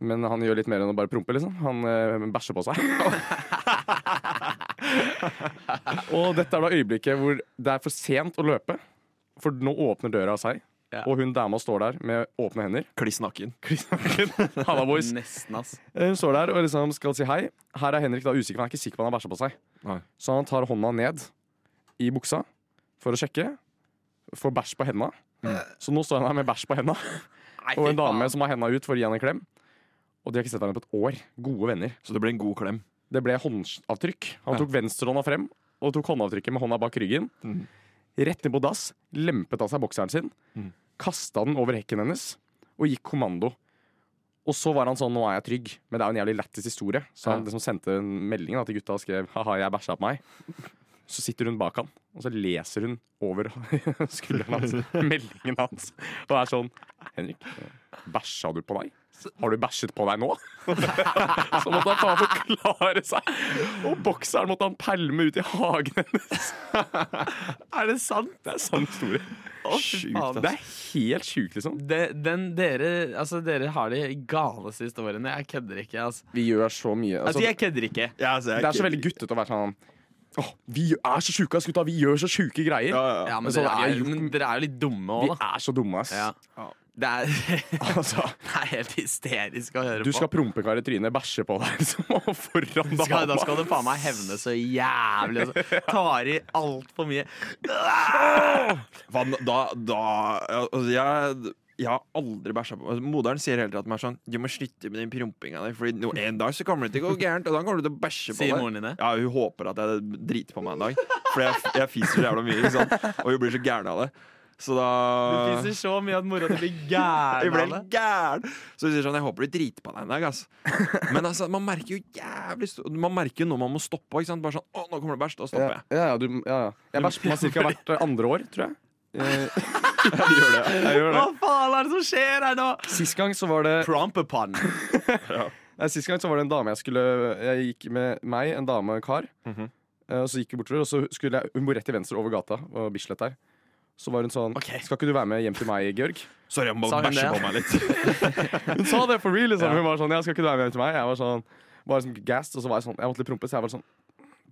G: Men han gjør litt mer enn å bare prompe, liksom. Han eh, bæsjer på seg. og dette er da øyeblikket hvor det er for sent å løpe. For nå åpner døra av seg,
F: Ja.
G: og hun dama står der med åpne hender.
E: Kliss nakken.
G: Halla, boys.
F: Nesten, ass.
G: Eh, Hun står der og liksom skal si hei. Her er Henrik da usikker, for han er ikke sikker på om han har bæsja på seg.
E: Nei.
G: Så han tar hånda ned i buksa for å sjekke. Får bæsj på henda. Så nå står han her med bæsj på henda
F: Mm. Nei,
G: og
F: fy
G: en dame
F: faen.
G: som har henda ut for å gi han en klem. Og de har ikke sett hverandre på et år. Gode venner.
E: Så det blir en god klem.
G: Det ble håndavtrykk. Han tok venstrehånda frem og tok håndavtrykket med hånda bak ryggen.
E: Mhm.
G: Rett ned på dass, lempet av seg bokseren sin,
E: Mhm.
G: kasta den over hekken hennes og gikk kommando. Og så var han sånn 'nå er jeg trygg', men det er jo en jævlig lættis historie. Så han
E: Ja.
G: liksom sendte en melding da, til gutta og skrev 'haha, jeg bæsja på meg'. Så sitter hun bak han, og så leser hun over skulderen hans meldingen hans. Og er sånn 'Henrik, bæsja du på deg? Har du bæsjet på deg nå?' Så måtte han faen forklare seg. Og bokseren måtte han pælme ut i hagen hennes.
F: Er det sant?
G: Det er sann historie.
F: Å, fy faen.
G: Det er helt sjukt, liksom.
F: Det- den, dere, altså, dere har de galeste historiene. Jeg kødder ikke. Altså.
G: Vi gjør så mye.
F: altså, jeg kødder ikke.
G: det er så veldig guttete å være sånn Åh, vi er så sjuke, ass, gutta. Vi gjør så sjuke greier.
F: Ja, men,
G: Men sånn
F: dere,
G: er
F: er,
G: jo-
F: men dere er jo litt dumme òg,
G: Vi
F: da.
G: er så dumme, ass.
F: Ja. Det, er,
G: Altså,
F: det er helt hysterisk å høre
G: du
F: på.
G: skal prompe en kar i trynet, bæsje på deg, liksom, og foran
F: Da skal, da
G: dama.
F: skal du faen meg hevne så jævlig. Altså. Tar i altfor mye. Ah!
E: Hva, da, da altså, jeg, jeg har aldri bæsja på altså, Moderen sier hele tiden til meg sånn Du må slutte med den prompinga der, Fordi no, en dag så kommer det til å gå gærent, og da kommer du til å bæsje på
F: Sier
E: deg.
F: moren din det?
E: Ja, hun håper at jeg driter på meg en dag. For jeg, jeg fiser så jævla mye, ikke sant? og hun blir så gæren av det. Så da
F: Du fiser så mye at mora di blir
E: jeg
F: gæren
E: ble
F: av det.
E: helt gæren! Så hun sier sånn Jeg håper du driter på deg en dag, ass. Men altså, man merker jo jævlig st- Man merker jo når man må stoppe òg, ikke sant. Bare sånn Å, nå kommer det bæsj. Da
G: Ja,
E: stopper jeg.
G: ja, ja, du, ja, ja. Jeg bæsjer på meg cirka hvert eh, andre år, tror jeg.
E: Jeg gjør det.
G: jeg gjør
F: Hva faen er det som skjer her nå?
G: Sist gang så var det
F: Prompepon.
G: Nei, Sist gang så var det en dame jeg skulle Jeg gikk med meg, en dame og en kar. Eh, Og så gikk vi bortover, og så skulle jeg Hun bor rett til venstre over gata. Og Bislett der Så var hun sånn
F: Ok.
G: Skal ikke du være med hjem til meg, Georg?
E: Sorry, jeg må
F: Sa hun
E: bæsje
F: det?
E: på meg litt.
G: Hun sa det for real, liksom. Hun var sånn Ja, skal ikke du være med hjem til meg? Jeg var sånn Bare sånn gassed, og så var jeg sånn Jeg måtte litt prompe, så jeg var sånn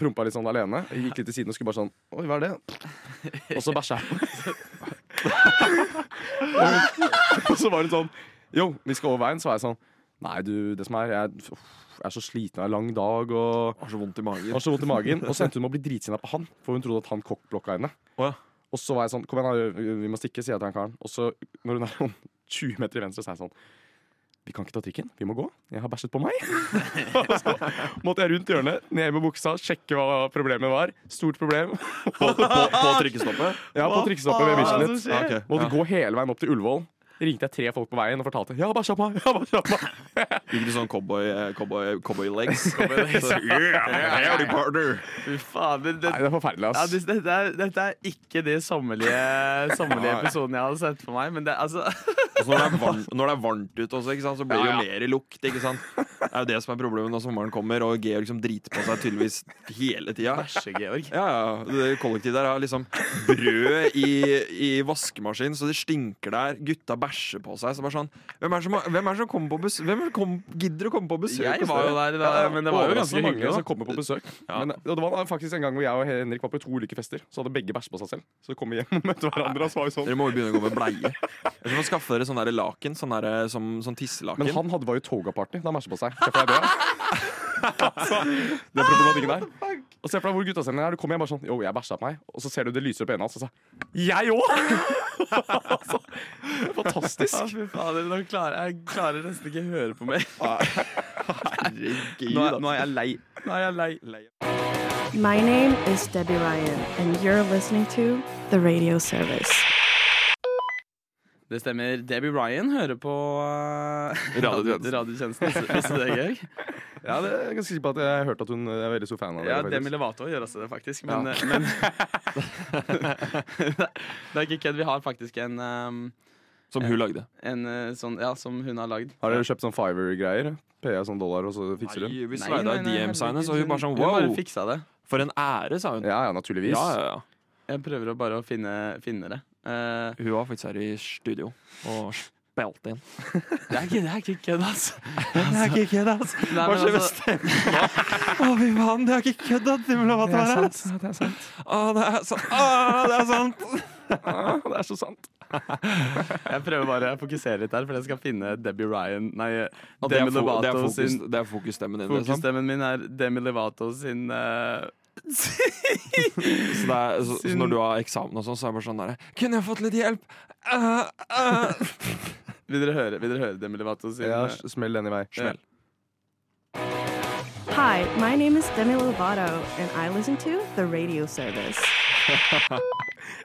G: Prompa litt sånn alene. Jeg gikk litt til siden og skulle bare sånn Oi, hva er det? Og så bæsja jeg. og, hun, og så var hun sånn Yo, vi skal over veien. Så var jeg sånn Nei, du, det som er Jeg, uff, jeg er så sliten, det er en lang dag, og
E: Har så vondt i magen.
G: Og så vondt i magen Og så endte hun med å bli dritsinna på han, for hun trodde at han kokkblokka henne.
E: Å ja.
G: Og så var jeg sånn Kom igjen, da, vi må stikke, sier jeg til han karen. Og så, når hun er sånn 20 meter i venstre, så er jeg sånn Vi kan ikke ta trikken, vi må gå. Jeg har bæsjet på meg. og så måtte jeg rundt hjørnet, ned med buksa, sjekke hva problemet var. Stort problem.
E: På, på, på trikkestoppet?
G: Ja, på trikkestoppet ved
F: faen er det
G: Bislett.
F: som skjer?
E: Ok,
G: Måtte
E: ja.
G: gå hele veien opp til Ullevål. ringte jeg tre folk på veien og fortalte Ja, bare kjapp meg! Ja, bare kjapp meg!
E: Gikk du sånn cowboy, eh, cowboy, cowboy legs?
F: Fy fader. Det,
G: Nei, det er forferdelig,
F: ja,
G: ass.
F: det, dette, er, dette er ikke de sommerlige, sommerlige episoden jeg hadde sett for meg, men det, altså
E: Og så når, det er varmt, når det er varmt ute også, ikke sant, så blir det jo mer lukt. Ikke sant? Det er jo det som er problemet når sommeren kommer, og Georg som driter på seg tydeligvis hele tida.
F: Æsje-Georg.
E: Ja, ja. Det kollektivet der har liksom brød i, i vaskemaskin, så det stinker der. Gutta bæsjer på seg. Så bare sånn, hvem er det som, hvem er det som kommer på bes- Hvem er det som kom- gidder å komme på besøk?
F: Jeg
E: hos
F: var jo
E: dere?
F: der, da, men det var jo ganske
G: mange
F: hyggelig.
G: som
F: Da.
G: kommer på besøk. Men, og det var faktisk en gang hvor jeg og Henrik var på to ulike fester. Så hadde begge bæsj på seg selv. Så kom vi hjem og møtte hverandre. Og så var vi sånn.
E: Dere må jo begynne å gå med bleie. Dere må skaffe dere sånn der laken. Sånn, der, som, sånn tisselaken.
G: Men han hadde var jo toga-party da han bæsja på seg. Se for deg det. altså, det er problematikken der. Og se for deg hvor guttastemningen er. Du kommer hjem bare sånn Yo, jeg bæsja på meg. Og så ser du det lyser opp i øynene hans, og så Jeg òg! altså,
F: Ja,
G: fantastisk.
F: fy fader, nå klarer jeg klarer nesten ikke å høre på mer.
E: Herregud,
F: Nå, er-
E: altså.
F: nå er jeg lei. Nå er jeg lei.
I: My name is Debbie Ryan, and you're listening to The Radio Service.
F: Det stemmer. Debbie Ryan hører på eh,
E: Radiotjenesten.
F: Radiotjenesten. Visste du det, Georg?
G: Ja, det er jeg ganske sikker på at jeg hørte at hun er veldig stor fan av det.
F: Ja,
G: faktisk.
F: Demi Lovato gjør også det, faktisk. Men, men Det er ikke kødd. Vi har faktisk en, um,
E: Som hun lagde.
F: en eh, sånn Ja, som hun har lagd.
G: Har dere kjøpt sånn Fiver-greier? PA sånn dollar, og så fikser hun?
E: Nei, vi
F: Nei,
E: slida
F: nei, nei,
E: DM-signet, så hun bare sånn
F: Hun
E: wow,
F: bare fiksa det.
E: for en ære, sa hun.
G: Ja, ja, naturligvis.
E: Ja, ja, ja.
F: Jeg prøver å bare å finne, finne det. Eh,
E: Hun var faktisk her i studio og spilte inn.
F: det er ikke det er ikke kødd, altså. Det er ikke kødd, altså. Nei,
E: Hva
F: men
E: skjer med
F: altså,
E: stemmen? Å, fy faen, det er ikke kødd at Demi Lovato er her! altså. Å, det er sant. Å, det er sant.
G: Det er så sant.
F: jeg prøver bare å fokusere litt der, for jeg skal finne Debbie Ryan Nei,
E: Og det er
F: Demi
E: fo- det er
F: Lovato
E: fokus-
F: sin
E: det er fokusstemmen din. Liksom.
F: Fokusstemmen min er Demi Lovato sin eh,
E: Så, det er, så, så når du har eksamen og sånn, så er det bare sånn derre Kunne jeg fått litt hjelp? Uh, uh.
F: Vil dere høre, vil dere høre Demi Lovato sin
G: Ja,
F: eh,
G: smell den i vei.
E: Smell.
I: Hi, my name is Demi Lovato, and I listen to The Radio Service.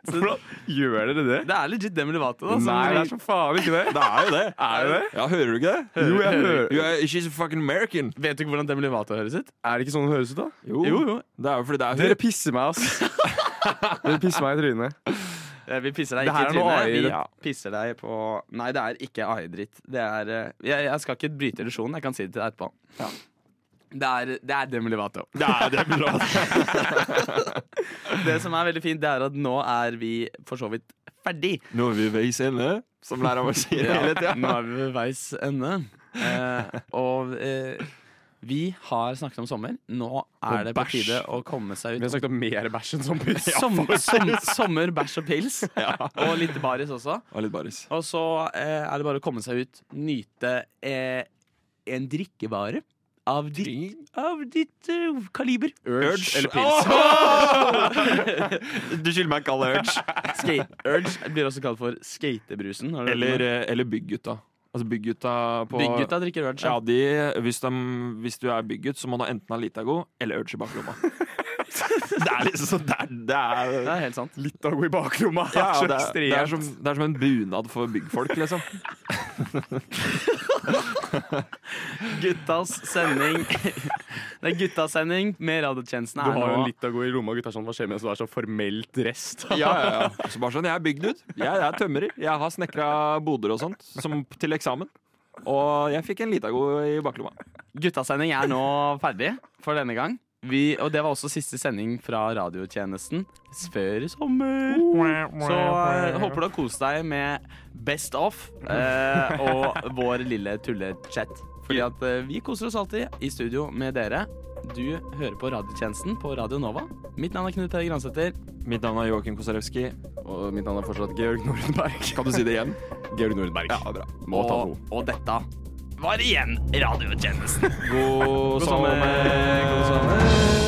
G: Hvordan gjør dere det?
F: Det er legit Demi Lovato, da. som-
G: Nei, det er så faen ikke det.
E: Det er jo det.
G: Er det det?
E: Ja, hører du ikke det?
G: Jo, jeg hører.
E: You are- she's a fucking American.
F: Vet du ikke hvordan Demi Lovato høres ut?
G: Er det ikke sånn det høres ut, da?
E: Jo, jo. Det er jo fordi det er
G: Dere pisser meg, ass. Dere pisser meg i trynet.
F: Eh, Vi pisser deg
G: Det
F: ikke i
G: her er noe
F: trynet.
G: AI,
F: Vi
G: det.
F: pisser deg på Nei, det er ikke AI-dritt. Det er eh, jeg, jeg skal ikke bryte illusjonen. Jeg kan si det til deg etterpå. Det er, det er Demi Lovato.
E: Det er det bra.
F: Det som er veldig fint, det er at nå er vi for så vidt ferdig.
E: Nå er vi ved veis ende, som læreren vår sier
F: Ja,
E: hele tida.
F: Nå er vi ved veis ende. Eh, og eh, vi har snakket om sommer. Nå er
G: Og
F: det på
G: bæsj.
F: tide å komme seg
G: Vi
F: ut.
G: har snakket om mer bæsj enn sånn piss.
F: Som, som, sommer, bæsj og pils. Og litt baris også.
E: Og litt baris.
F: Og så eh, er det bare å komme seg ut, nyte eh, en drikkevare av ditt, av ditt eh, kaliber.
G: Urge eller pils.
E: Du skylder meg ikke alle urge.
F: Skate, urge blir også kalt for skatebrusen. har du hørt om
E: Eller,
F: det?
E: eh, eller bygggutta. Altså bygggutta på
F: Bygggutta drikker urge.
E: Ja, de, hvis, de, hvis du er byggut, så må du enten ha Litago eller urge i baklomma. det er liksom sånn det er-
F: Det
E: det er
F: er helt sant.
G: Litt av god i bakrommet.
E: ja, ja,
G: så
E: det, er, det, er
G: ekstremt.
E: som, det er som en bunad for byggfolk, liksom.
F: Guttas sending. Det er guttasending med Radiotjenesten.
G: Du
F: er
G: har jo
F: nå-
G: en litt av god i rommet, og gutta er sånn Hva skjer med det? Så det er så formelt dress. da?
E: Ja, ja, ja. Så bare sånn, Jeg er bygd ut. Jeg, jeg er tømrer. Jeg har snekra boder og sånt som, til eksamen. Og jeg fikk en Litago i baklomma.
F: Guttasending er nå ferdig for denne gang. Vi, og det var også siste sending fra radiotjenesten før i sommer. Så eh, håper du har kost deg med Best Off eh, og vår lille tullechat. Fordi at eh, vi koser oss alltid i studio med dere. Du hører på radiotjenesten på Radio Nova. Mitt navn er Knut Terje Gransæter.
E: Mitt navn er Joakim Kosarewski.
G: Og mitt navn er fortsatt Georg Nordenberg.
E: Kan du si det igjen?
G: Georg Nordenberg.
E: Ja, bra.
G: Må ta to.
F: Og, og dette var igjen radiotjenesten.
E: God,
F: God sommer. God sommer.